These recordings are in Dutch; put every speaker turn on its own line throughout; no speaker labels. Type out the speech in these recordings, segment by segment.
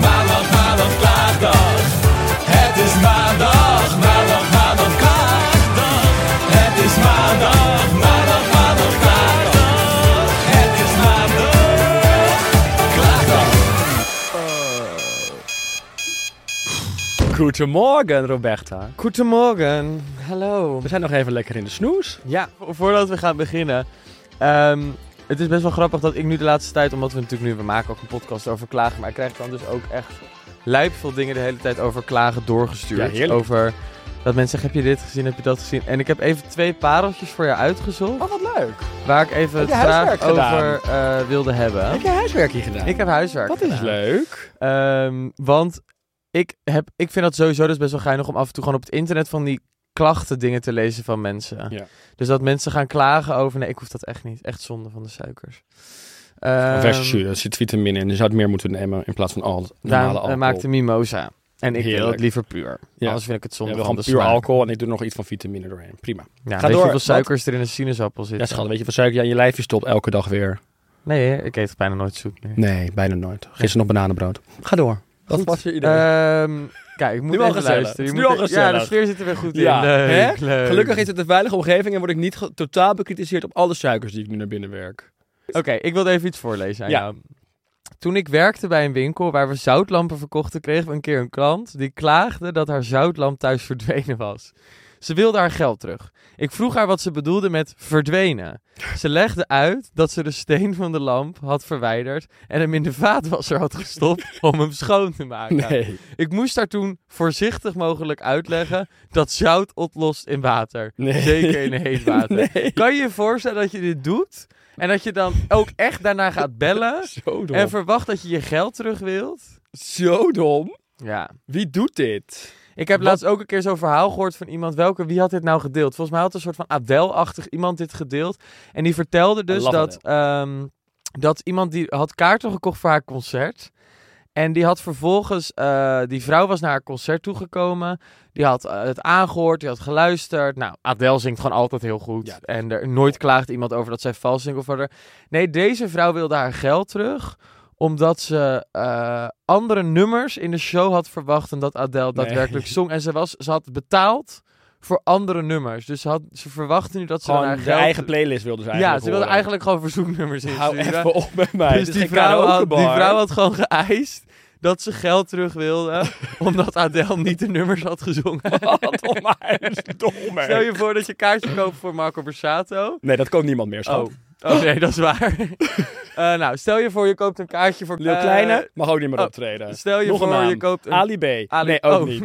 maandag, maandag, klaagdag. Het is maandag, maandag, maandag, klaagdag. Het is maandag, maandag, maandag, klaagdag. Het is maandag, klaagdag.
Goedemorgen, Roberta.
Goedemorgen, hallo.
We zijn nog even lekker in de snoes.
Ja, vo- voordat we gaan beginnen. ehm, het is best wel grappig dat ik nu de laatste tijd, omdat we natuurlijk nu, we maken ook een podcast over klagen, maar ik krijg dan dus ook echt lijp veel dingen de hele tijd over klagen doorgestuurd.
Ja, heerlijk.
Over dat mensen zeggen, heb je dit gezien, heb je dat gezien? En ik heb even twee pareltjes voor jou uitgezocht,
Oh, wat leuk.
waar ik even
Heb
het
je
graag
huiswerk gedaan?
over eh, wilde hebben.
Heb jij huiswerk hier gedaan?
Ik heb huiswerk
dat is
gedaan.
leuk.
Ehm, want ik, heb, ik vind dat sowieso dus best wel geinig om af en toe gewoon op het internet van die klachten dingen te lezen van mensen.
Ja.
Dus dat mensen gaan klagen over, nee, ik hoef dat echt niet. Echt zonde van de suikers. Ehm,
Wegsturen, er zit vitamine in. dus Je zou het meer moeten nemen in plaats van al het normale
Daarom
alcohol.
eh, maakte mimosa. En ik wil
Heerlijk.
het liever puur.
Ja.
Anders vind ik het
We
zonde
hebben gewoon
van de
puur
smaak.
alcohol en ik doe er nog iets van vitamine doorheen. Prima.
Ja,
Ga
weet
door,
je hoeveel
wat?
suikers er in een sinaasappel
Ja,
zitten?
schat, weet je wat suiker je aan je lijfje stopt elke dag weer?
Nee, hè? ik eet bijna nooit zoet meer.
Nee, bijna nooit. Gisteren nog bananenbrood. Ga door. Dat
Goed.
was weer iedereen.
Ehm, kijk, ik moet
Nu al
even
gezellig.
luisteren.
Het is
Je moet
nu al
er- Ja, de
gezellig.
sfeer zit er weer goed
Ja,
in. Leuk,
hè?
leuk.
Gelukkig is het een veilige omgeving en word ik niet ge- totaal bekritiseerd op alle suikers die ik nu naar binnen werk.
Oké, ik wilde even iets voorlezen aan
Ja.
jou. Toen ik werkte bij een winkel waar we zoutlampen verkochten, kregen we een keer een klant die klaagde dat haar zoutlamp thuis verdwenen was. Ze wilde haar geld terug. Ik vroeg haar wat ze bedoelde met verdwenen. Ze legde uit dat ze de steen van de lamp had verwijderd en hem in de vaatwasser had gestopt om hem schoon te maken.
Nee.
Ik moest daar toen voorzichtig mogelijk uitleggen dat zout oplost in water.
Nee.
Zeker in heet water.
Nee.
Kan je je voorstellen dat je dit doet en dat je dan ook echt daarna gaat bellen
Zo dom.
en verwacht dat je je geld terug wilt?
Zo dom.
Ja.
Wie doet dit?
Ik heb
Wat-
laatst ook een keer zo'n verhaal gehoord van iemand. Welke, wie had dit nou gedeeld? Volgens mij had een soort van Adele-achtig iemand dit gedeeld. En die vertelde dus
love
dat, ehm, dat iemand die had kaarten gekocht voor haar concert. En die had vervolgens, eh, die vrouw was naar haar concert toegekomen. Die had eh, het aangehoord, die had geluisterd. Nou, Adele zingt gewoon altijd heel goed.
Ja.
En er nooit klaagt iemand over dat zij vals zingt of verder. Nee, deze vrouw wilde haar geld terug omdat ze eh, andere nummers in de show had verwacht dan dat Adele
Nee.
daadwerkelijk zong. En ze, was, ze had betaald voor andere nummers. Dus ze, had, ze verwachtte nu dat ze dan
Gewoon
haar
de
geld...
eigen playlist wilden ze
ja,
eigenlijk
ze wilde
horen.
eigenlijk gewoon verzoeknummers
Hou
insturen.
even op met mij.
Dus die vrouw, had, die vrouw had gewoon geëist dat ze geld terug wilde, omdat Adele niet de nummers had gezongen.
Wat onwijs
Stel
dom,
je voor dat je kaartje koopt voor Marco Borsato.
Nee, dat koopt niemand meer, schat.
Oh, oh nee, dat is waar. Eh, nou, stel je voor je koopt een kaartje voor...
Lil
eh,
Kleine mag ook niet meer
oh,
optreden.
Stel je
Nog een
voor
naam.
je koopt een...
Ali B.
Ali-
Nee, ook
oh.
niet.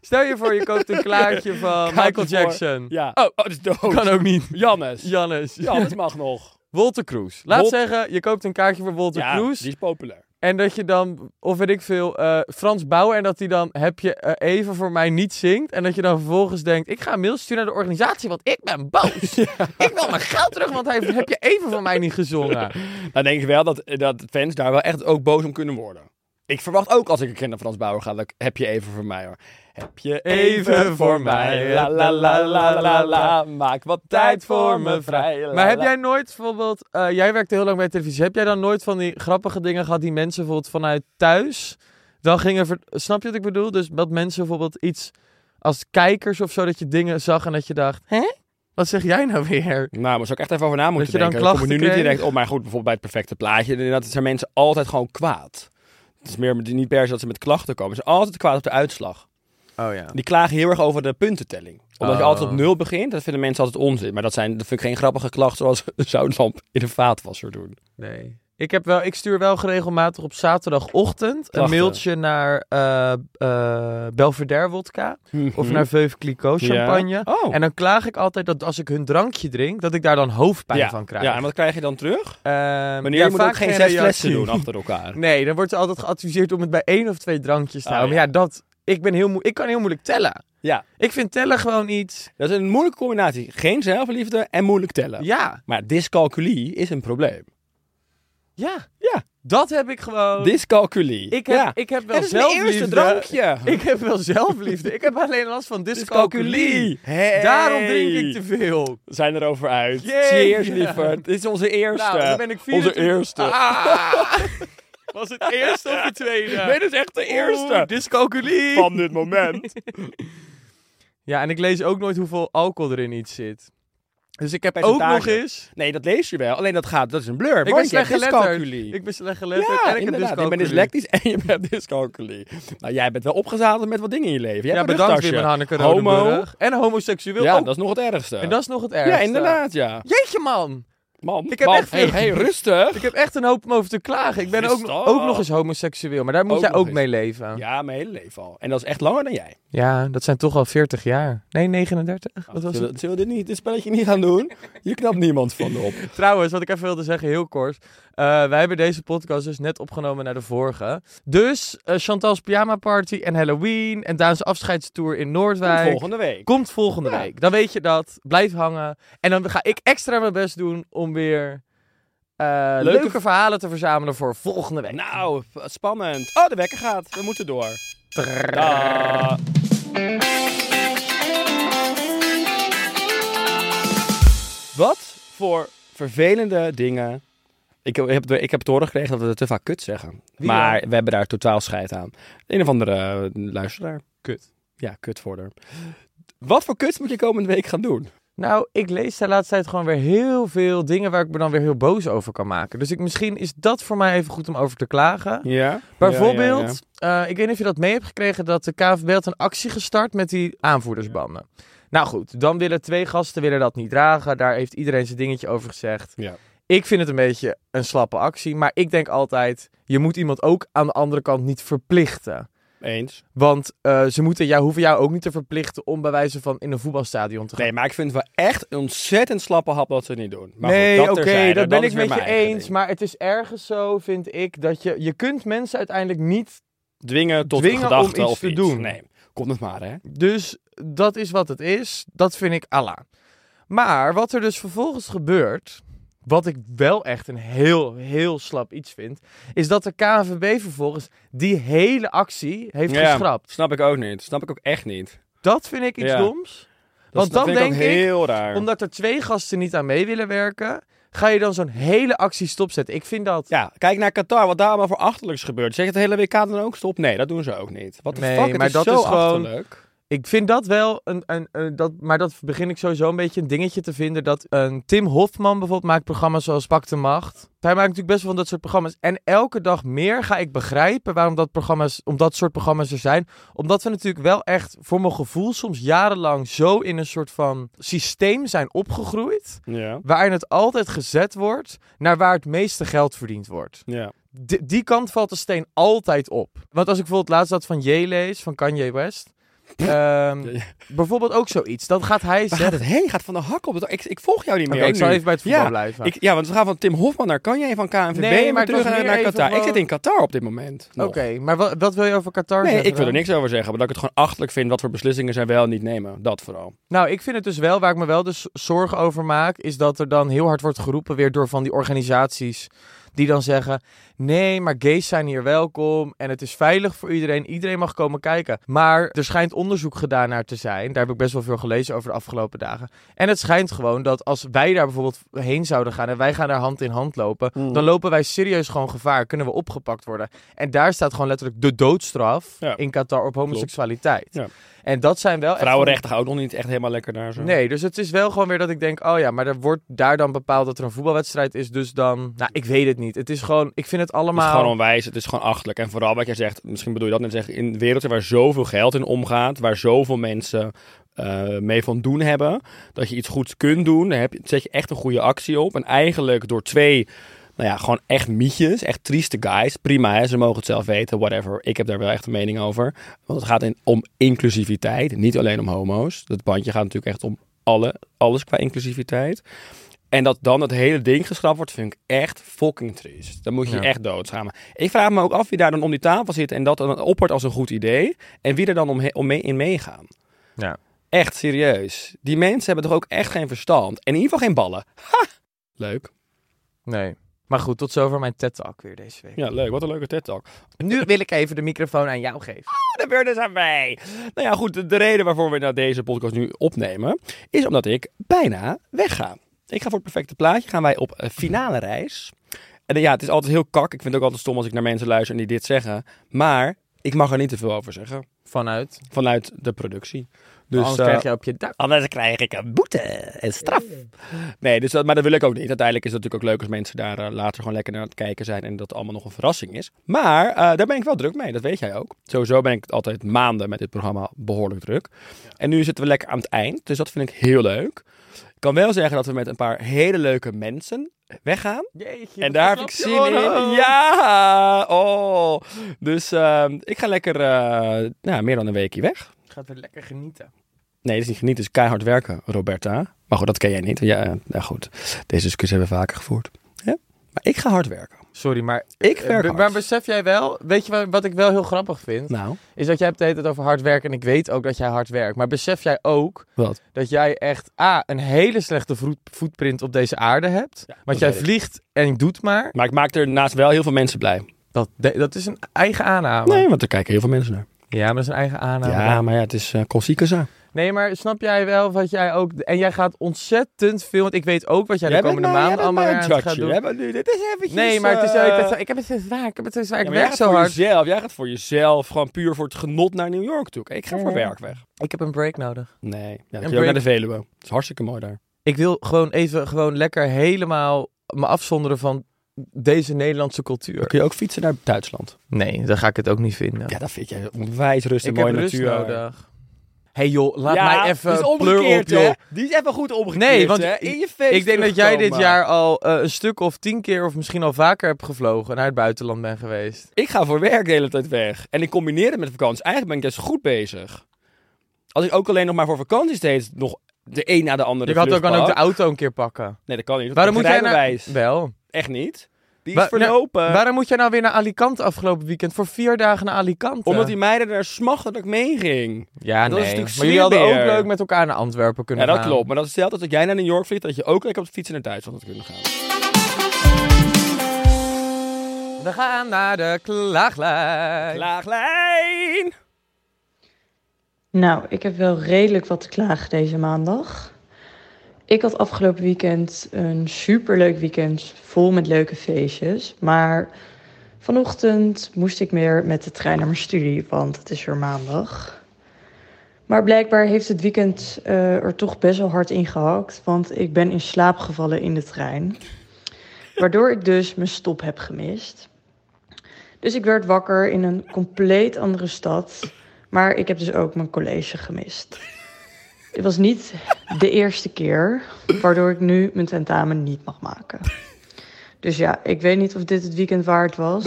Stel je voor je koopt een klaartje van
Kaartje
Michael
voor-
Jackson.
Ja. Oh, dat is dood.
Kan ook niet.
Jannes.
Jannes.
Jannes mag nog.
Wolter Kroes. Laat
Wol-
zeggen, je koopt een kaartje voor Wolter
ja,
Kroes.
die is populair.
En dat je dan, of weet ik veel, eh, Frans Bauer. En dat hij dan, heb je eh, even voor mij niet zingt. En dat je dan vervolgens denkt, ik ga een mail sturen naar de organisatie, want ik ben boos. Ik wil mijn geld terug, want hij heeft- heb je even voor mij niet gezongen.
Dan Nou, denk ik wel dat, dat fans daar wel echt ook boos om kunnen worden. Ik verwacht ook als ik een keer naar Frans Bauer ga, dat ik- heb je even voor mij hoor. Heb je even voor mij, la la la la la la, maak wat tijd voor me vrij. la,
Maar heb
la.
jij nooit bijvoorbeeld, eh, jij werkte heel lang bij televisie, heb jij dan nooit van die grappige dingen gehad die mensen bijvoorbeeld vanuit thuis dan gingen, ver- snap je wat ik bedoel? Dus dat mensen bijvoorbeeld iets als kijkers of zo, dat je dingen zag en dat je dacht, hè? Wat zeg jij nou weer?
Nou, maar zou ik echt even over na moeten
je dan
denken. Ik kom er nu
klachten
niet
kreeg?
direct op, maar goed, bijvoorbeeld bij het perfecte plaatje. Inderdaad, zijn mensen altijd gewoon kwaad. Het is meer met- niet per se dat ze met klachten komen. Ze zijn altijd kwaad op de uitslag.
Oh ja.
Die klagen heel erg over de puntentelling. Omdat je
Oh.
altijd op nul begint, dat vinden mensen altijd onzin. Maar dat, zijn, dat vind ik geen grappige klachten zoals een zoutlamp in een vaatwasser doen.
Nee. Ik, heb wel, ik stuur wel regelmatig op zaterdagochtend
Klachten.
een mailtje naar eh eh, Belvedere Wodka of naar Veuve Clicquot
Mhm. Ja.
champagne.
Oh.
En dan klaag ik altijd dat als ik hun drankje drink, dat ik daar dan hoofdpijn
ja.
van krijg.
Ja, en wat krijg je dan terug?
Ehm,
Wanneer
ja,
je moet ook
vaak
geen zes flessen
reactie.
doen achter elkaar.
Nee, dan wordt er altijd geadviseerd om het bij één of twee drankjes te
Oh,
houden.
ja.
Maar ja, dat, ik, ben heel moe- ik kan heel moeilijk tellen.
Ja,
Ik vind tellen gewoon iets...
dat is een moeilijke combinatie. Geen zelfliefde en moeilijk tellen.
Ja,
Maar dyscalculie is een probleem.
ja.
Ja,
Dat heb ik gewoon...
dyscalculie.
Ik heb,
ja.
ik heb wel
Het is mijn
zelfliefde.
eerste drankje.
Ik heb wel zelfliefde. Ik heb alleen last van dyscalculie. Nou,
Hey.
Daarom drink ik te veel.
We zijn erover uit.
Yay.
Cheers, lieverd. Dit is onze eerste.
Nou, dan ben ik Ah. vier.
Onze eerste.
Was het eerste of de tweede?
Nee, dit is echt de eerste
Oeh, dyscalculie.
van dit moment.
Ja, en ik lees ook nooit hoeveel alcohol er in iets zit. Dus ik heb ook nog
Percentage.
eens...
Nee, dat lees je wel. Alleen dat gaat, dat is een blur.
Ik ben
want je
slecht
hebt
geletterd.
dyscalculie.
Ik ben slecht
ja,
geletterd en ik heb
inderdaad. Je
dyscalculie.
bent dyslectisch en je bent dyscalculie. Nou, jij bent wel opgezadeld met wat dingen in je leven. Jij
Ja,
hebt een
bedankt Wim
rugtasje.
en Hanneke
Homo.
Rodenburg. En homoseksueel.
Ja,
ook.
dat is nog het ergste.
En dat is nog het ergste.
ja, inderdaad, ja.
Jeetje man.
Man,
Ik heb
man,
echt
hey,
veel-
hey, rustig.
Ik heb echt een hoop om over te klagen. Ik ben ook,
Rustig.
ook nog eens homoseksueel. Maar daar moet
Ook
jij
nog
ook
eens.
mee leven. Ja.
Ja, mijn hele leven al. En dat is echt langer dan jij.
dat zijn toch al 40 jaar. Nee, 39. Wat was het?
Zullen, zullen we dit, niet, dit spelletje niet gaan doen? Je knapt niemand van op.
Trouwens, wat ik even wilde zeggen, heel kort. Eh, wij hebben deze podcast dus net opgenomen naar de vorige. Dus eh, Chantal's Pyjama Party en Halloween en Daan's afscheidstour in Noordwijk.
Volgende week.
Komt volgende
Ja.
week. Dan weet je dat. Blijf hangen. En dan ga ik extra mijn best doen om weer eh, leuke... verhalen te verzamelen voor volgende week.
Nou, f- spannend. Oh, de wekker gaat. We moeten door. Da. Wat voor vervelende dingen. Ik heb, ik heb het horen gekregen dat we het te vaak kut zeggen. maar we hebben daar totaal scheid aan. Een of andere eh, luisteraar. Kut. Ja, kutvorder. Wat voor kuts moet je komende week gaan doen?
Nou, ik lees de laatste tijd gewoon weer heel veel dingen waar ik me dan weer heel boos over kan maken. Dus ik, misschien is dat voor mij even goed om over te klagen.
Ja.
Bijvoorbeeld, eh, ik weet niet of je dat mee hebt gekregen, dat de KNVB had een actie gestart met die aanvoerdersbanden. Nou goed, dan willen twee gasten willen dat niet dragen. Daar heeft iedereen zijn dingetje over gezegd.
Ja.
Ik vind het een beetje een slappe actie, maar ik denk altijd, je moet iemand ook aan de andere kant niet verplichten.
Eens.
Want eh, ze moeten jou, hoeven jou ook niet te verplichten om bij wijze van in een voetbalstadion te gaan.
Nee, maar ik vind het wel echt een ontzettend slappe hap dat ze het niet doen. Maar
nee,
goed,
oké,
dat terzijde.
dat
Dan
ben ik
is weer
met je
mijn eigen
eens.
ding.
Maar het is ergens zo, vind ik, dat je, je kunt mensen uiteindelijk niet
dwingen tot
Dwingen
een gedachte
om iets
of
te doen.
Nee, komt het maar, hè?
Dus dat is wat het is. Dat vind ik Allah. Maar wat er dus vervolgens gebeurt, wat ik wel echt een heel, heel slap iets vind, is dat de KNVB vervolgens die hele actie heeft geschrapt.
Snap ik ook niet. Snap ik ook echt niet.
Dat vind ik iets
Ja.
doms.
Dat
Want dan
vind
denk
ook
ik,
heel raar.
omdat er twee gasten niet aan mee willen werken, ga je dan zo'n hele actie stopzetten. Ik vind dat...
Ja, kijk naar Qatar, wat daar allemaal voor achterlijks gebeurt. Zeg het hele WK dan ook stop? Nee, dat doen ze ook niet. Wat
Nee,
fuck, het
maar
is
dat
zo
is gewoon-
achterlijk.
Ik vind dat wel een, een, een- dat, maar dat begin ik sowieso een beetje een dingetje te vinden. Dat een Tim Hofman bijvoorbeeld maakt programma's zoals Pak de Macht. Hij maakt natuurlijk best wel van dat soort programma's. En elke dag meer ga ik begrijpen waarom dat, programma's, om dat soort programma's er zijn. Omdat we natuurlijk wel echt, voor mijn gevoel, soms jarenlang zo in een soort van systeem zijn opgegroeid.
Ja.
Waarin het altijd gezet wordt naar waar het meeste geld verdiend wordt.
Ja.
D- die kant valt de steen altijd op. Want als ik bijvoorbeeld laatst dat van J lees, van Kanye West. ehm, bijvoorbeeld ook zoiets. Dan gaat hij
Waar gaat
zeggen...
het heen? Gaat van de hak op. het- Ik, ik volg jou niet meer.
Oké, ik
nu.
zal even bij het voetbal
ja,
blijven.
Ik, ja, want we gaan van Tim Hofman naar Kanje, van KNVB
Nee,
en weer
maar het
terug
was
naar,
meer
naar
even
Qatar. Ik
gewoon-
zit in Qatar op dit moment.
Oké,
nog.
maar wat, wat wil je over Qatar
Nee,
zeggen
ik wil er
dan?
niks over zeggen, maar dat ik het gewoon achterlijk vind wat voor beslissingen zij wel en niet nemen. Dat vooral.
Nou, ik vind het dus wel, waar ik me wel dus zorgen over maak, is dat er dan heel hard wordt geroepen weer door van die organisaties die dan zeggen, nee, maar gays zijn hier welkom en het is veilig voor iedereen, iedereen mag komen kijken. Maar er schijnt onderzoek gedaan naar te zijn, daar heb ik best wel veel gelezen over de afgelopen dagen. En het schijnt gewoon dat als wij daar bijvoorbeeld heen zouden gaan en wij gaan daar hand in hand lopen,
Hmm.
dan lopen wij serieus gewoon gevaar, kunnen we opgepakt worden. En daar staat gewoon letterlijk de doodstraf
Ja.
in Qatar op homoseksualiteit.
Ja.
En dat zijn wel echt van die-
Vrouwenrechten gaan ook nog niet echt helemaal lekker daar zo.
Nee, dus het is wel gewoon weer dat ik denk, oh ja, maar er wordt daar dan bepaald dat er een voetbalwedstrijd is, dus dan... Nou, ik weet het niet. Het is gewoon, ik vind het
Het
allemaal...
is gewoon onwijs, het is gewoon achterlijk. En vooral wat jij zegt, misschien bedoel je dat net zeggen, in werelden waar zoveel geld in omgaat, waar zoveel mensen eh, mee van doen hebben, dat je iets goeds kunt doen, dan heb je, zet je echt een goede actie op. En eigenlijk door twee, nou ja, gewoon echt mietjes, echt trieste guys, prima hè, ze mogen het zelf weten, whatever. Ik heb daar wel echt een mening over. Want het gaat in, om inclusiviteit, niet alleen om homo's. Dat bandje gaat natuurlijk echt om alle, alles qua inclusiviteit. En dat dan dat hele ding geschrapt wordt, vind ik echt fucking triest. Dan moet je je echt doodschamen. Ik vraag me ook af wie daar dan om die tafel zit en dat dan oppert als een goed idee. En wie er dan om, om mee, in meegaan.
Ja.
Echt serieus. Die mensen hebben toch ook echt geen verstand. En in ieder geval geen ballen. Ha! Leuk.
Nee. Maar goed, tot zover mijn TED-talk weer deze week.
Ja, leuk. Wat een leuke TED-talk.
Nu wil ik even de microfoon aan jou geven.
Oh, de beurt is aan mij. Nou ja, goed. de- De reden waarvoor we nou deze podcast nu opnemen, is omdat ik bijna wegga. Ik ga voor het perfecte plaatje. Gaan wij op een finale reis. En eh, ja, het is altijd heel kak. Ik vind het ook altijd stom als ik naar mensen luister en die dit zeggen. Maar ik mag er niet te veel over zeggen.
Vanuit.
Vanuit de productie. Dus,
Dus, anders
eh,
krijg je op je dak.
Anders krijg ik een boete en straf. Nee, dus dat, maar dat wil ik ook niet. Uiteindelijk is het natuurlijk ook leuk als mensen daar eh, later gewoon lekker naar aan het kijken zijn en dat het allemaal nog een verrassing is. Maar eh, daar ben ik wel druk mee, dat weet jij ook. Sowieso ben ik altijd maanden met dit programma behoorlijk druk. En nu zitten we lekker aan het eind, dus dat vind ik heel leuk. Ik kan wel zeggen dat we met een paar hele leuke mensen weggaan.
Jeetje,
En daar heb ik zin in. Ja! Oh! Dus ehm, ik ga lekker eh, nou, meer dan een weekje weg.
Gaat weer lekker genieten.
Nee, dat is niet genieten. Het is keihard werken, Roberta. Maar goed, dat ken jij niet. Ja, eh, nou goed. Deze discussie hebben we vaker gevoerd. Ja? Maar ik ga hard werken. Dus
Sorry, maar...
Ik
eh,
werk
be-
hard.
Maar besef jij wel... Weet je wa- wat ik wel heel grappig vind?
Nou,
Is dat jij hebt het over hard werken en ik weet ook dat jij hard werkt. Maar besef jij ook
wat?
dat jij echt A, een hele slechte vroet- footprint op deze aarde hebt. want jij
weet ik.
vliegt en doet maar.
Maar ik maak er naast wel heel veel mensen blij.
Dat, de- dat is een eigen aanname.
Nee, want er kijken heel veel mensen naar.
Ja, maar dat is een eigen aanname.
ja, maar ja, het is uh, klassieke zaak.
Nee, maar snap jij wel wat jij ook... En jij gaat ontzettend veel... Want ik weet ook wat jij, de komende
nou,
maanden allemaal weer aan het gaat doen.
nu, dit is eventjes...
Nee, maar het is, wel- ik, ben
eh,
zo- ik heb het zo zwaar, ik heb het zo zwaar, ik
ja, maar jij
werk
gaat
zo
voor
hard.
Jezelf, jij gaat voor jezelf, gewoon puur voor het genot naar New York toe. Kijk, Ik ga voor werk weg.
Ik heb een break nodig.
Nee, ja, dan kun je ook
break.
naar de Veluwe. Het is hartstikke mooi daar.
Ik wil gewoon even gewoon lekker helemaal me afzonderen van deze Nederlandse
Dan
cultuur.
kun je ook fietsen naar Duitsland.
Nee, daar ga ik het ook niet vinden.
Ja, dat vind jij onwijs rustig,
ik heb
mooie
rust
natuur.
nodig. hey joh, laat mij even
die is
pleur op
omgekeerd,
joh.
hè? Die is even goed omgekeerd,
Nee, want
hè?
ik-
In je feest
Ik denk dat jij dit
terugkomen.
jaar al eh, een stuk of tien keer of misschien al vaker hebt gevlogen naar het buitenland bent geweest.
Ik ga voor werk de hele tijd weg. En ik combineer het met vakantie. Eigenlijk ben ik juist goed bezig. Als ik ook alleen nog maar voor vakantie steeds nog de een na de andere
Je had ook
vlucht
dan ook de
pak.
auto een keer pakken.
Nee, dat kan niet. want
Waarom
ik
moet
heb
jij
geen
nou...
rijbewijs.
Wel.
Echt niet. Die is
Wa- nou,
verlopen.
Waarom moet jij nou weer naar Alicante afgelopen weekend? Voor vier dagen naar Alicante.
Omdat die meiden er smachten dat ik meeging.
Ja,
Dat is
nee.
natuurlijk
maar jullie hadden ook
smeerbeer.
leuk met elkaar naar Antwerpen kunnen
Ja, dat
gaan.
klopt. Maar dat stelt dat als jij naar New York vliegt, dat je ook lekker op de fiets naar Duitsland had kunnen gaan.
We gaan naar de klaaglijn.
Laaglijn!
Nou, ik heb wel redelijk wat te klagen deze maandag. Ik had afgelopen weekend een superleuk weekend vol met leuke feestjes. Maar vanochtend moest ik meer met de trein naar mijn studie, want het is weer maandag. Maar blijkbaar heeft het weekend eh, er toch best wel hard in gehakt, want ik ben in slaap gevallen in de trein. Waardoor ik dus mijn stop heb gemist. Dus ik werd wakker in een compleet andere stad. Maar ik heb dus ook mijn college gemist. Dit was niet de eerste keer, waardoor ik nu mijn tentamen niet mag maken. Dus ja, ik weet niet of dit het weekend waard was.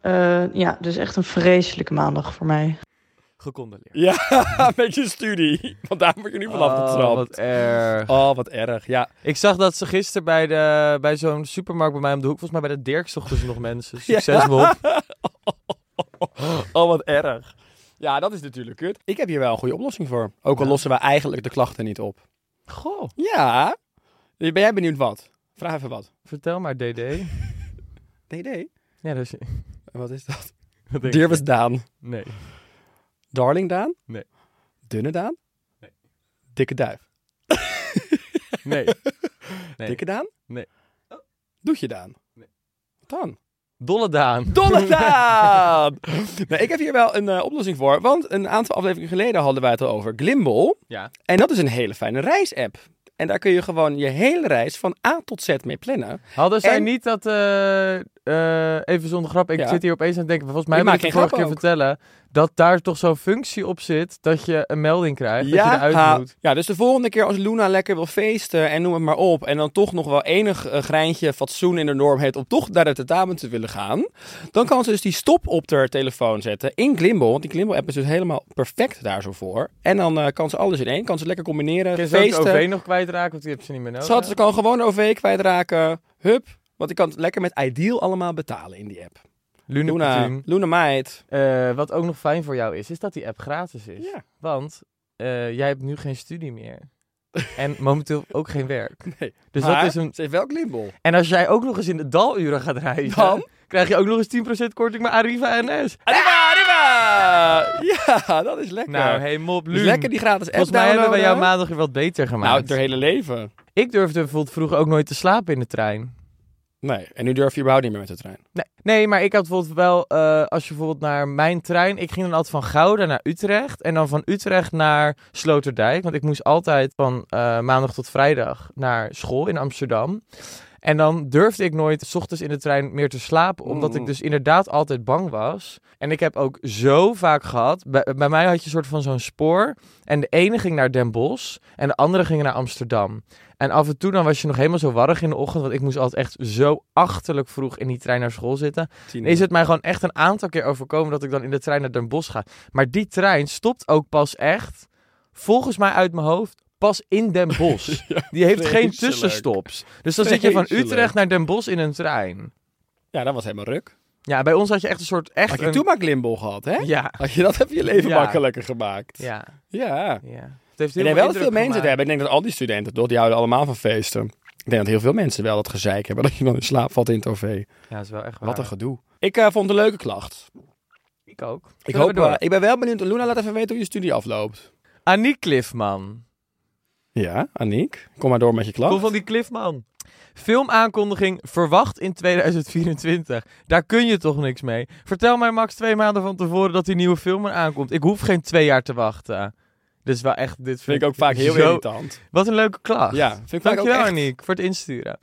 Eh, ja, dus echt een vreselijke maandag voor mij.
Gecondoleerd.
Ja, met je studie. Want daar word je nu vanaf
Oh,
getrapt.
wat erg.
Oh, wat erg. Ja,
Ik zag dat ze gisteren bij, de, bij zo'n supermarkt bij mij om de hoek, volgens mij bij de Dirk, zochten ze nog mensen. Succes, Bob.
Oh, wat erg. Ja, dat is natuurlijk kut. Ik heb hier wel een goede oplossing voor. Ook al lossen we eigenlijk de klachten niet op.
Goh,
Ja. Ben jij benieuwd wat? Vraag even wat.
vertel maar, DD.
DD?
Ja, dus...
Wat is dat?
Wat denk je?
Dear was Daan.
Nee.
Darling Daan?
Nee.
Dunne Daan? Nee. Dikke duif?
Nee. nee.
Dikke Daan?
Nee.
Doet je Daan? Nee. Wat dan?
Dolle Daan.
Donnerdaan! nou, ik heb hier wel een eh, oplossing voor. Want een aantal afleveringen geleden hadden wij het al over Glimble.
Ja.
En dat is een hele fijne reisapp. En daar kun je gewoon je hele reis van A tot Z mee plannen.
Hadden zij
En-
niet dat... eh, eh, even zonder grap, ik
Ja.
zit hier opeens aan het denken. Volgens mij
Je
heb ik
maakt
het
geen
de vorige keer vertellen... dat daar toch zo'n functie op zit dat je een melding krijgt. Dat je eruit
ha-
moet.
ja, dus de volgende keer als Luna lekker wil feesten en noem het maar op. En dan toch nog wel enig eh, greintje fatsoen in de norm heeft om toch naar het tentamen te willen gaan. Dan kan ze dus die stop op haar telefoon zetten in Glimble. Want die Glimble app is dus helemaal perfect daar zo voor. En dan eh, kan ze alles in één. Kan ze lekker combineren.
Kun je ze ook
feesten.
het OV nog kwijtraken, want die heb ze niet meer nodig.
Schat, ze kan gewoon de OV kwijtraken. Hup. Want ik kan het lekker met Ideal allemaal betalen in die app.
Luna,
Luna,
Platoon.
Luna meid.
Eh, wat ook nog fijn voor jou is, is dat die app gratis is.
Ja.
Want eh, jij hebt nu geen studie meer. En momenteel ook geen werk.
Nee.
Dus
Maar
dat is een...
Ze heeft wel Glimble.
En als jij ook nog eens in de daluren gaat reizen,
Dan? Ah,
krijg je ook nog eens 10% korting bij Arriva NS.
Arriba, arriba! Ja, dat is lekker.
Nou, hey mop,
dus
Luun.
lekker die gratis app
Volgens mij hebben we
downloaden.
jouw maandag weer wat beter gemaakt.
Nou, het hele leven.
Ik durfde bijvoorbeeld vroeger ook nooit te slapen in de trein.
Nee, en nu durf je überhaupt niet meer met de trein.
Nee, nee maar ik had bijvoorbeeld wel, eh, als je bijvoorbeeld naar mijn trein, ik ging dan altijd van Gouda naar Utrecht en dan van Utrecht naar Sloterdijk, want ik moest altijd van eh, maandag tot vrijdag naar school in Amsterdam. En dan durfde ik nooit 's ochtends in de trein meer te slapen, omdat ik dus inderdaad altijd bang was. En ik heb ook zo vaak gehad, bij, bij mij had je een soort van zo'n spoor en de ene ging naar Den Bosch en de andere ging naar Amsterdam. En af en toe dan was je nog helemaal zo warrig in de ochtend, want ik moest altijd echt zo achterlijk vroeg in die trein naar school zitten.
Tien
Is het mij gewoon echt een aantal keer overkomen dat ik dan in de trein naar Den Bosch ga. Maar die trein stopt ook pas echt, volgens mij uit mijn hoofd, pas in Den Bosch. die heeft geen
vreselijk.
tussenstops. Dus dan zit je van
Vreselijk.
Utrecht naar Den Bosch in een trein.
Ja, dat was helemaal ruk.
Ja, bij ons had je echt een soort... Echt
Had je
een...
toen maar Glimble gehad, hè?
Ja.
Had je dat heb je leven
Ja.
makkelijker gemaakt.
Ja,
ja.
ja. Het heeft
Ik
heel
denk wel dat veel
indruk
mensen het
gemaakt.
hebben. Ik denk dat al die studenten, toch, die houden allemaal van feesten. Ik denk dat heel veel mensen wel dat gezeik hebben. Dat je dan in slaap valt in het OV.
Ja, dat is wel echt waar.
Wat een gedoe. Ik eh, vond het een leuke klacht.
Ik ook.
Ik,
Zullen we
hoop,
door?
eh, ik ben wel benieuwd. Luna, laat even weten hoe je studie afloopt.
Annie Cliffman.
Ja, Aniek. Kom maar door met je klacht.
Kom van die Cliffman. Filmaankondiging verwacht in 2024. Daar kun je toch niks mee. Vertel mij Max twee maanden van tevoren dat die nieuwe film er aankomt. Ik hoef geen twee jaar te wachten. Dit is wel echt... Dit
Vind ik ook vaak heel
zo-
irritant.
Wat een leuke klacht.
Ja, vind ik vaak
Dankjewel
ook echt-
Aniek voor het insturen.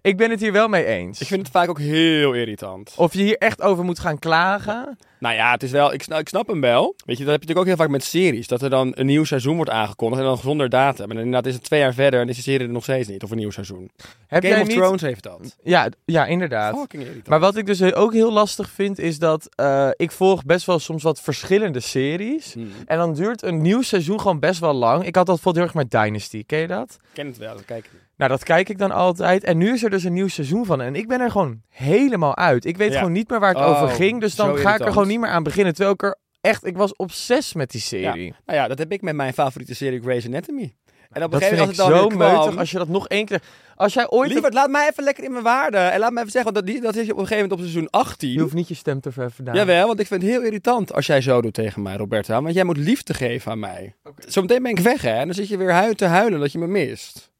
Ik ben het hier wel mee eens.
Ik vind het vaak ook heel irritant.
Of je hier echt over moet gaan klagen.
Nou ja, het is wel, ik snap, ik snap hem wel. Weet je, dat heb je natuurlijk ook heel vaak met series. Dat er dan een nieuw seizoen wordt aangekondigd en dan zonder datum. En inderdaad is het twee jaar verder en is de serie er nog steeds niet. Of een nieuw seizoen.
Heb
Game
jij
of
niet...
Thrones heeft dat.
Ja, ja, inderdaad.
Fucking irritant.
Maar wat ik dus he- ook heel lastig vind, is dat eh, ik volg best wel soms wat verschillende series.
Hmm.
En dan duurt een nieuw seizoen gewoon best wel lang. Ik had dat bijvoorbeeld heel erg met Dynasty, ken je dat?
Ik ken het wel, dat kijk ik niet.
Nou, dat kijk ik dan altijd. En nu is er dus een nieuw seizoen van. En ik ben er gewoon helemaal uit. Ik weet
Ja.
gewoon niet meer waar het
Oh,
over ging. Dus dan
zo
ga ik er
irritant.
gewoon niet meer aan beginnen. Terwijl ik er echt, ik was obsessief met die
Ja.
serie.
Nou ja, dat heb ik met mijn favoriete serie Grey's Anatomy. En op een
Dat
gegeven
vind ik
moment als het
zo
dan weer kwam,
meutig als je dat nog één keer... Als jij ooit...
Lieverd, laat mij even lekker in mijn waarde. En laat me even zeggen, want dat, die- dat is op een gegeven moment op seizoen 18.
Je hoeft niet je stem te verheffen. Daan.
Jawel, want ik vind het heel irritant als jij zo doet tegen mij, Roberta. Want jij moet liefde geven aan mij. Zometeen ben ik weg, hè? En dan zit je weer hui te huilen dat je me mist.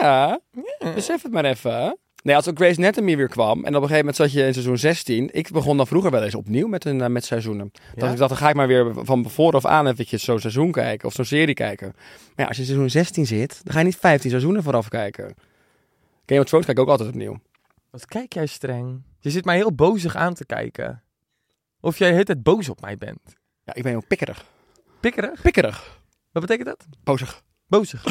Ja. Ja. Besef het maar even. Nee, als ook Grace Anatomy weer kwam en op een gegeven moment zat je in seizoen 16. Ik begon dan vroeger wel eens opnieuw met, een, eh, met seizoenen. Dat
Ja?
ik dacht, dan ga ik maar weer van vooraf aan eventjes zo'n seizoen kijken of zo'n serie kijken. Maar ja, als je in seizoen 16 zit, dan ga je niet 15 seizoenen vooraf kijken. Game of Thrones kijk ik ook altijd opnieuw.
Wat kijk jij streng? Je zit mij heel bozig aan te kijken. Of jij de hele tijd boos op mij bent.
Ja, ik ben heel pikkerig.
Pikkerig?
Pikkerig.
Wat betekent dat?
Pozig.
Bozig.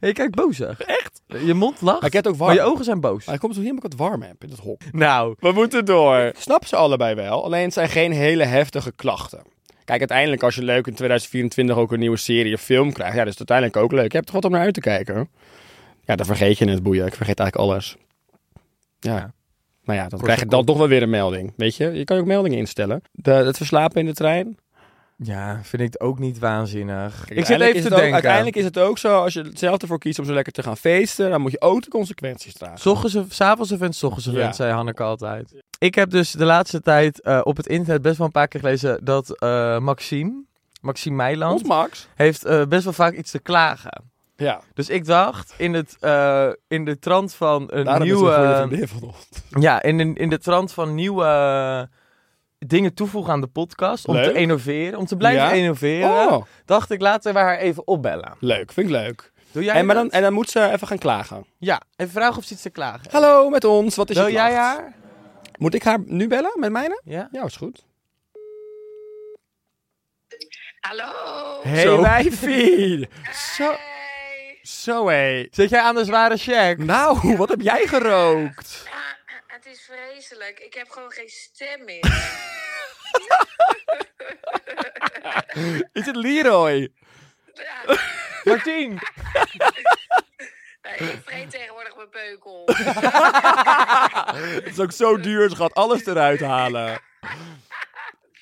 Ja, je kijkt bozig. Echt? Je mond lacht,
Maar ik heb het ook warm.
maar je ogen zijn boos.
Maar het komt omdat ik het warm heb in het hok.
Nou,
We moeten door. Ik snap ze allebei wel, alleen het zijn geen hele heftige klachten. Kijk, uiteindelijk als je leuk in 2024 ook een nieuwe serie of film krijgt, ja, dat is het uiteindelijk ook leuk. Je hebt toch wat om naar uit te kijken? Ja, dan vergeet je het boeien. Ik vergeet eigenlijk alles. Ja.
Ja.
Nou ja, dan
Kort
krijg je dan toch wel weer een melding. Weet je, je kan je ook meldingen instellen. De, het verslapen in de trein.
ja, vind ik het ook niet waanzinnig.
Kijk,
ik zit
uiteindelijk
even
is
te
het ook-
denken.
uiteindelijk is het ook zo, als je er zelf ervoor kiest om zo lekker te gaan feesten, dan moet je ook de consequenties dragen.
S ochtends een- 's avonds een vent, 's ochtends een
Ja.
vent, zei Hanneke altijd. Ik heb dus de laatste tijd eh, op het internet best wel een paar keer gelezen dat eh, Maxime, Maxime Meiland,
Ons Max.
heeft eh, best wel vaak iets te klagen.
Ja,
Dus ik dacht, in, het, eh, in de trant van een
daarom
nieuwe...
is het een goede vriendin van ons.
Ja, in, in, in de trant van nieuwe eh, dingen toevoegen aan de podcast. Om
Leuk.
te innoveren, om te blijven
Ja.
innoveren.
Oh.
Dacht ik, laten we haar even opbellen.
Leuk, vind ik leuk.
Doe jij
En, maar
dat?
dan, en dan moet ze even gaan klagen.
Ja, en vraag of ze iets te klagen. heeft.
Hallo, met ons, wat is
Wil
je
jij
klacht?
haar?
Moet ik haar nu bellen, met mijne?
Ja.
Ja, is goed.
Hallo.
Hey
Zo.
wijfie!
Zo, zo hé.
Zit jij aan de zware check?
Nou, wat heb jij gerookt?
Ja, het is vreselijk. Ik heb gewoon geen stem meer.
Is het Leroy?
Ja,
Martien!
nee, ik vreet tegenwoordig mijn peukel.
Het is ook zo duur, ze gaat alles eruit halen.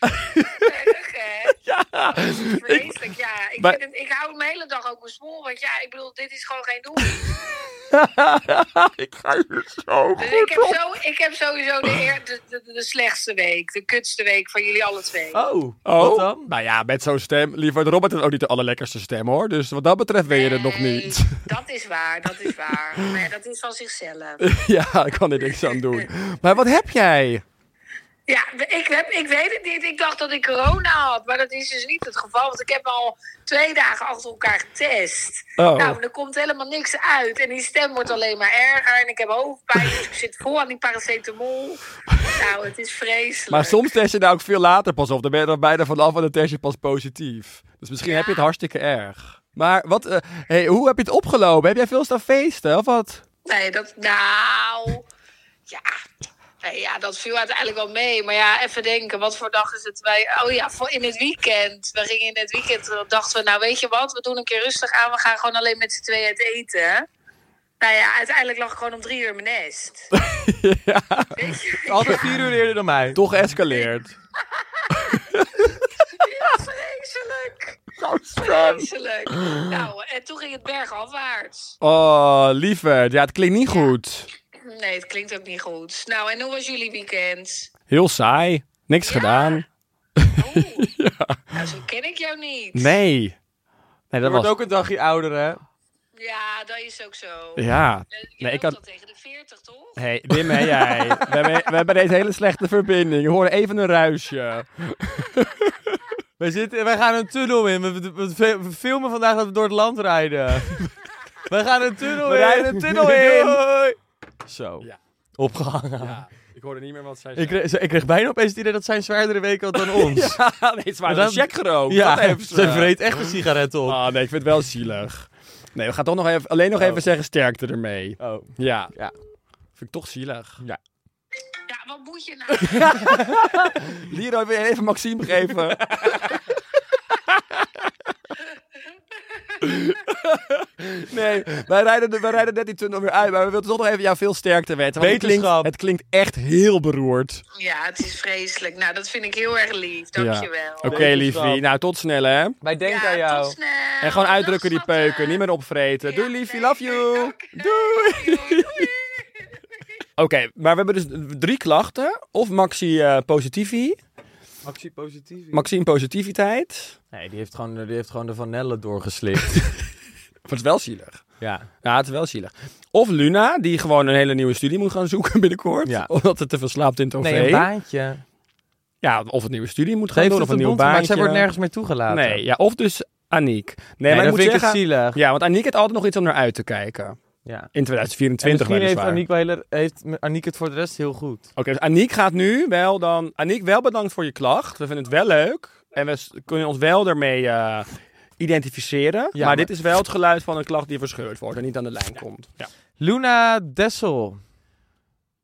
Erg, hè?
Ja,
Vreselijk, ja. Ik,
Maar-
vind het, ik hou hem de hele dag ook mijn smoel. Want ja, ik bedoel, dit is gewoon geen doel. Dus
ik ga hier zo
ik, heb zo, ik heb sowieso de, eer- de, de, de slechtste week. De kutste week van jullie alle twee.
Oh,
Oh,
wat dan?
nou ja, met zo'n stem. Lieverd Robert heeft ook niet de allerlekkerste stem hoor. Dus wat dat betreft weet je het nog
Nee,
niet.
Dat is waar, dat is waar. Maar ja, dat is van zichzelf.
ja, ik kan er niks aan doen. Maar wat heb jij?
Ja, ik, heb, ik weet het niet. Ik dacht dat ik corona had, maar dat is dus niet het geval. Want ik heb al twee dagen achter elkaar getest.
Oh.
Nou, er komt helemaal niks uit. En die stem wordt alleen maar erger. En ik heb hoofdpijn, dus ik zit vol aan die paracetamol. Nou, het is vreselijk.
Maar soms test je nou ook veel later pas op. Dan ben je er bijna vanaf en dan test je pas positief. Dus misschien heb je het hartstikke erg. Maar wat, eh, hey, hoe heb je het opgelopen? Heb jij veel staan feesten of wat?
Nee, dat... Nou... Ja... Nee, ja, dat viel uiteindelijk wel mee. Maar ja, even denken, wat voor dag is het? Wij, oh ja, voor in het weekend. We gingen in het weekend, dachten we, nou weet je wat? We doen een keer rustig aan, we gaan gewoon alleen met z'n tweeën uit eten. Nou ja, uiteindelijk lag ik gewoon om drie uur in mijn nest.
ja,
Weet je?
Altijd vier uur eerder dan mij.
toch escaleerd.
Ja, vreselijk. Vreselijk. Nou, en toen ging het bergafwaarts.
Oh, lieverd. Ja, het klinkt niet goed.
Nee, het klinkt ook niet goed. Nou, en hoe was jullie weekend?
Heel saai. Niks gedaan.
Oeh, nou, zo ken ik jou niet.
Nee. Nee,
Je
dat
wordt
was...
ook een dagje ouder, hè?
Ja, dat is ook zo.
Ja.
Eh, Je
Nee,
nee,
ik
ik
had-
dat tegen de 40, toch?
Hé, hey, Wim en jij. We hebben, we hebben deze hele slechte verbinding. We horen even een ruisje.
Wij, zitten, wij gaan een tunnel in. We, we- we- we filmen vandaag dat we door het land rijden. we gaan een tunnel
We
in.
rijden een tunnel in.
Doei. Zo.
Ja.
Opgehangen.
ik hoorde niet meer wat zij
Ik, kreeg, ik kreeg bijna opeens het idee dat zij een zwaardere week had dan ons.
Ja, nee, ze waren
Dan-
een check gerookt. dat heeft ze.
ze vreet echt een sigaret op.
Ah, nee, ik vind het wel zielig. Nee, we gaan toch nog even, alleen nog even zeggen sterkte ermee.
Oh.
Ja.
Ja.
Vind ik toch zielig.
Ja.
Ja, wat moet je nou?
Leroy, wil je even Maxime geven? nee, wij rijden, de- wij rijden net die tunnel weer uit, maar we willen toch nog even jou veel sterkte weten. want het klinkt,
Wetenschap.
het klinkt echt heel beroerd.
Ja, het is vreselijk. Nou, dat vind ik heel erg lief. Dankjewel.
Oké,
Wetenschap.
liefie. Nou, tot snel, hè.
Wij denken
Ja,
aan jou.
tot snel.
En gewoon uitdrukken die
Dag, schatten.
peuken. Niet meer opvreten.
Ja,
Doei, liefie.
nee,
Love you.
nee, oké.
Doei.
Love you. Doei.
Oké, maar we hebben dus drie klachten. Of Maxi eh positivi,
Maxi positief.
Maxime positiviteit.
Nee, die heeft gewoon, die heeft gewoon de vanille doorgeslikt.
Maar het is wel zielig.
ja.
Ja, het is wel zielig. Of Luna, die gewoon een hele nieuwe studie moet gaan zoeken binnenkort.
Ja.
Omdat het te verslaapt in het OV.
Nee, een baantje.
Ja, of een nieuwe studie moet gaan
Geeft
doen,
het
of een
een
nieuw
bond,
baantje.
maar zij wordt nergens meer toegelaten.
Nee, ja, of dus Aniek. Nee,
Nee,
maar
dan
ik moet
vind ik het
zeggen...
zielig.
Ja, want Aniek heeft altijd nog iets om naar uit te kijken.
Ja.
In
En
2024
misschien heeft
weliswaar.
Aniek, wel heel- heeft Aniek het voor de rest heel goed.
Oké, dus Aniek gaat nu wel dan... Aniek, wel bedankt voor je klacht. We vinden het wel leuk. En we s- kunnen ons wel daarmee eh, identificeren. maar,
maar-
dit is wel het geluid van een klacht die verscheurd wordt en niet aan de lijn komt. Ja.
Luna Dessel.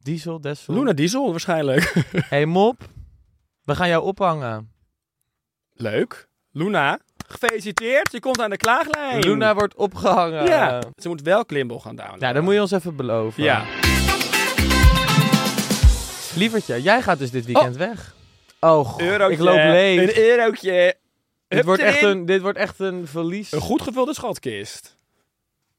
Diesel, Dessel.
Luna Diesel waarschijnlijk.
Hey Mop, we gaan jou ophangen.
leuk. Luna, gefeliciteerd. Je komt aan de klaaglijn.
Luna wordt opgehangen.
Ja. Ze moet wel Klimbo gaan downloaden.
Nou, dat moet je ons even beloven.
Ja.
Lievertje, jij gaat dus dit weekend weg. Oh, god,
Eurotje.
ik loop leeg.
Een eurotje.
dit, wordt echt
erin.
een, dit wordt echt een verlies.
Een goed gevulde schatkist.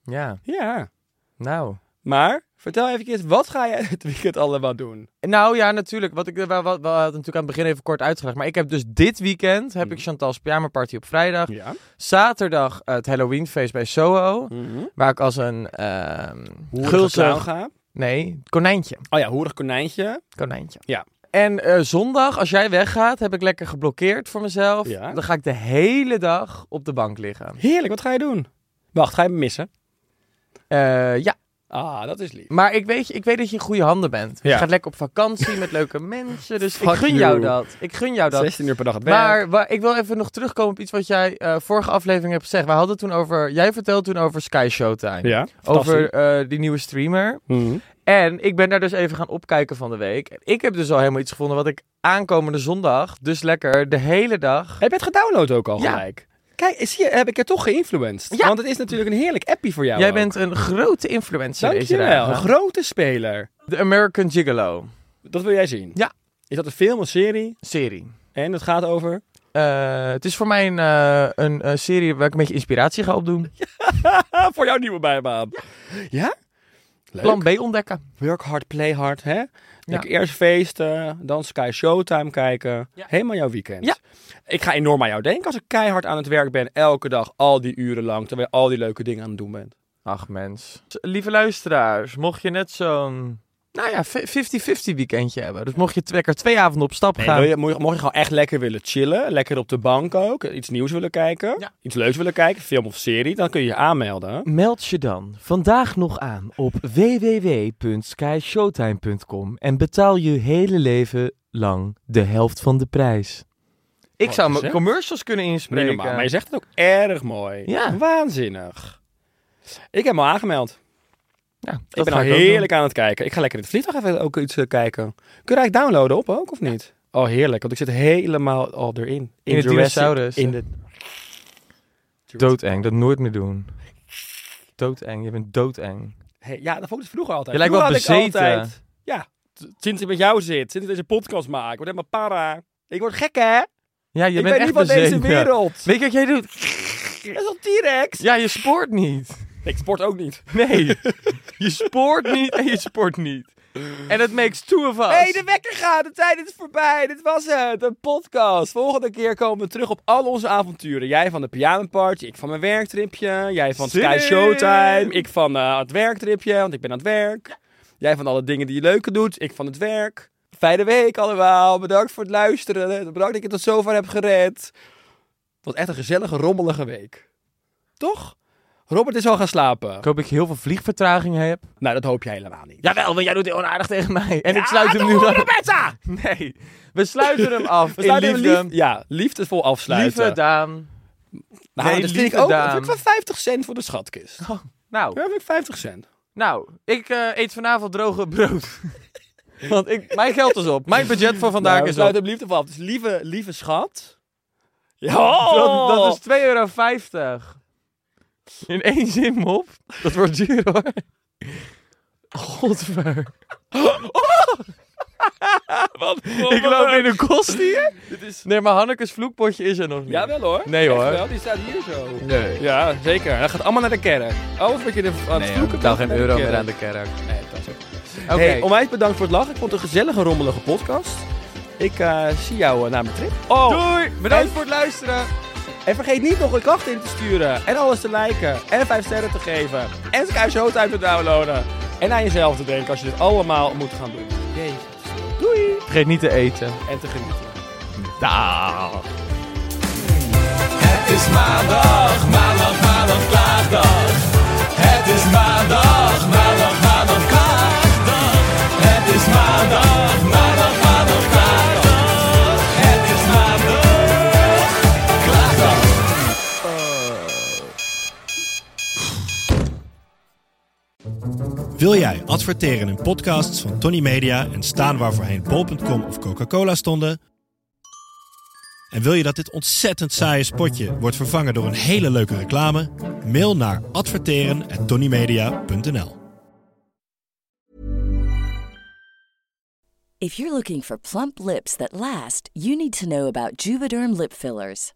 Ja,
Ja.
nou.
Maar vertel even, wat ga jij het weekend allemaal doen?
Nou ja, natuurlijk. Wat ik we, we, we hadden natuurlijk aan het begin even kort uitgelegd. Maar ik heb dus dit weekend heb ik Chantal's pyjama party op vrijdag.
Mm. Ja.
Zaterdag eh, het Halloweenfeest bij Soho.
Mm-hmm.
Waar ik als een ehm gulzig...
ga.
Nee, konijntje.
Oh ja, hoerig konijntje.
Konijntje.
Ja.
En eh, zondag, als jij weggaat, heb ik lekker geblokkeerd voor mezelf.
Ja.
Dan ga ik de hele dag op de bank liggen.
Heerlijk, wat ga je doen? Wacht, ga je me missen?
Eh, ja,
Ah, dat is lief.
maar ik weet, je- ik weet dat je in goede handen bent. Dus
Ja.
Je gaat lekker op vakantie met leuke mensen. Dus ik
Fuck
gun
you.
jou dat. Ik gun jou dat.
16 uur per dag het werk.
Maar wa- ik wil even nog terugkomen op iets wat jij eh, vorige aflevering hebt gezegd. We hadden toen over, jij vertelde toen over Sky Showtime.
Ja,
over eh, die nieuwe streamer.
Mhm.
En ik ben daar dus even gaan opkijken van de week. Ik heb dus al helemaal iets gevonden wat ik aankomende zondag, dus lekker de hele dag.
Heb je het gedownload ook al
Ja.
gelijk? Kijk, zie je, heb ik je toch geïnfluenced?
Ja.
Want het is natuurlijk een heerlijk appie voor jou
jij
ook.
bent een grote influencer deze
Dankjewel, een
dagen.
grote speler.
De American Gigolo
Dat wil jij zien?
Ja.
Is dat een film, een serie?
serie.
En het gaat over...
Eh, het is voor mij een, eh, een eh, serie waar ik een beetje inspiratie ga opdoen.
Ah, voor jouw nieuwe bijbaan. Ja? Leuk.
Plan B ontdekken.
Work hard, play hard, hè? Lekker eerst feesten, dan Sky Showtime kijken. Helemaal jouw weekend.
Ja.
Ik ga enorm aan jou denken als ik keihard aan het werk ben. Elke dag, al die uren lang, terwijl je al die leuke dingen aan het doen bent.
Ach mens. Lieve luisteraars, mocht je net zo'n nou ja, 50-50 weekendje hebben. Dus mocht je t- lekker twee avonden op stap
Nee,
gaan.
wil je, mocht je mocht je gewoon echt lekker willen chillen, lekker op de bank ook, iets nieuws willen kijken,
Ja.
iets leuks willen kijken, film of serie, dan kun je je aanmelden.
Meld je dan vandaag nog aan op www.skyshowtime.com en betaal je hele leven lang de helft van de prijs. Ik
Wat
zou
Oh, is
mijn
het?
commercials kunnen
Niet
inspreken.
normaal, maar je zegt het ook erg mooi.
eh. Ja.
Waanzinnig. Ik heb me al aangemeld.
Ja, dat
Ik ben
ga
al
ook doen.
heerlijk aan het kijken. Ik ga lekker in het vliegtuig even ook iets eh, kijken. Kun je eigenlijk downloaden op ook, of niet? Oh, heerlijk, want ik zit helemaal al erin. In,
het
Jurassic-
dinosaurus.
In de...
Doodeng, dat nooit meer doen. Doodeng, je bent doodeng.
Hey, ja, dat vond ik dus vroeger altijd.
Je lijkt wel
Vroeger had ik
bezeten.
altijd- ja, t- sinds ik met jou zit, sinds ik deze podcast maak, ik word helemaal para. Ik word gek, hè?
Ja, je
ik
bent
ben
echt
niet van deze
bezeten.
wereld.
Weet je wat jij doet?
Dat is al T-Rex.
Ja, je spoort niet.
Ik sport ook niet.
Nee, je spoort niet en je spoort niet. En dat makes two of us.
Hé, hey, de wekker gaat. De tijd is voorbij. Dit was het. Een podcast. Volgende keer komen we terug op al onze avonturen. Jij van de pyjamaparty, ik van mijn werktripje. Jij van
Zin
Sky
in!
Showtime. Ik van eh, het werktripje, want ik ben aan het werk. Jij van alle dingen die je leuke doet. Ik van het werk. Fijne week allemaal. Bedankt voor het luisteren. Bedankt dat ik het tot zover heb gered. Het was echt een gezellige, rommelige week. Toch? Robert is al gaan slapen.
Ik hoop dat ik heel veel vliegvertraging heb.
Nou, dat hoop je helemaal niet.
Jawel, want jij doet heel onaardig tegen mij. En ik sluit hem nu af. Nee, we sluiten hem af.
We sluiten
in
hem
liefde.
lief- ja, liefdevol afsluiten.
Lieve Daan.
Nou,
Nee,
dat vind ik
lieve
ook. Dat
dame.
vind ik wel 50 cent voor de schatkist. Ja,
Nou,
dat vind ik 50 cent.
nou ik eh, eet vanavond droge brood. Want ik, mijn geld is op. Mijn budget voor vandaag
Nou,
is
sluit
op.
hem liefdevol af. Dus lieve, lieve schat. Ja, Oh!
Dat, dat is 2,50 euro. In één zin, mop. Dat wordt duur, hoor. Godver. Ik loop in een kost hier. Nee, maar Hanneke's vloekpotje is er nog niet.
Jawel hoor.
Nee, hoor.
Echt wel, die staat hier zo.
Nee.
Ja, zeker. Dat gaat allemaal naar de kerk. Alles wat je de, aan het vloeken bent, naar de kerk.
kerk.
Nee, dat is ook-
Oké.
Hey, onwijs bedankt voor het lachen. Ik vond het een gezellige, rommelige podcast. Ik eh, zie jou eh, na mijn trip. Oh,
Doei. Bedankt
en-
voor het luisteren.
En vergeet niet nog een klacht in te sturen. En alles te liken. En 5 sterren te geven. En Sky Showtime te downloaden. En aan jezelf te denken als je dit allemaal moet gaan doen. Jezus. Doei.
Vergeet niet te eten.
En te genieten.
Het is maandag, maandag, maandag, klaagdag. Het is maandag, maandag, maandag, klaagdag. Het is maandag, maandag, maandag, klaagdag. Het is maandag, klaagdag.
Wil jij adverteren in podcasts van Tony Media en staan waar voorheen bol.com of Coca-Cola stonden? En wil je dat dit ontzettend saaie spotje wordt vervangen door een hele leuke reclame? Mail naar adverteren@tonymedia.nl.
If you're looking for plump lips that last, you need to know about Juvederm lip fillers.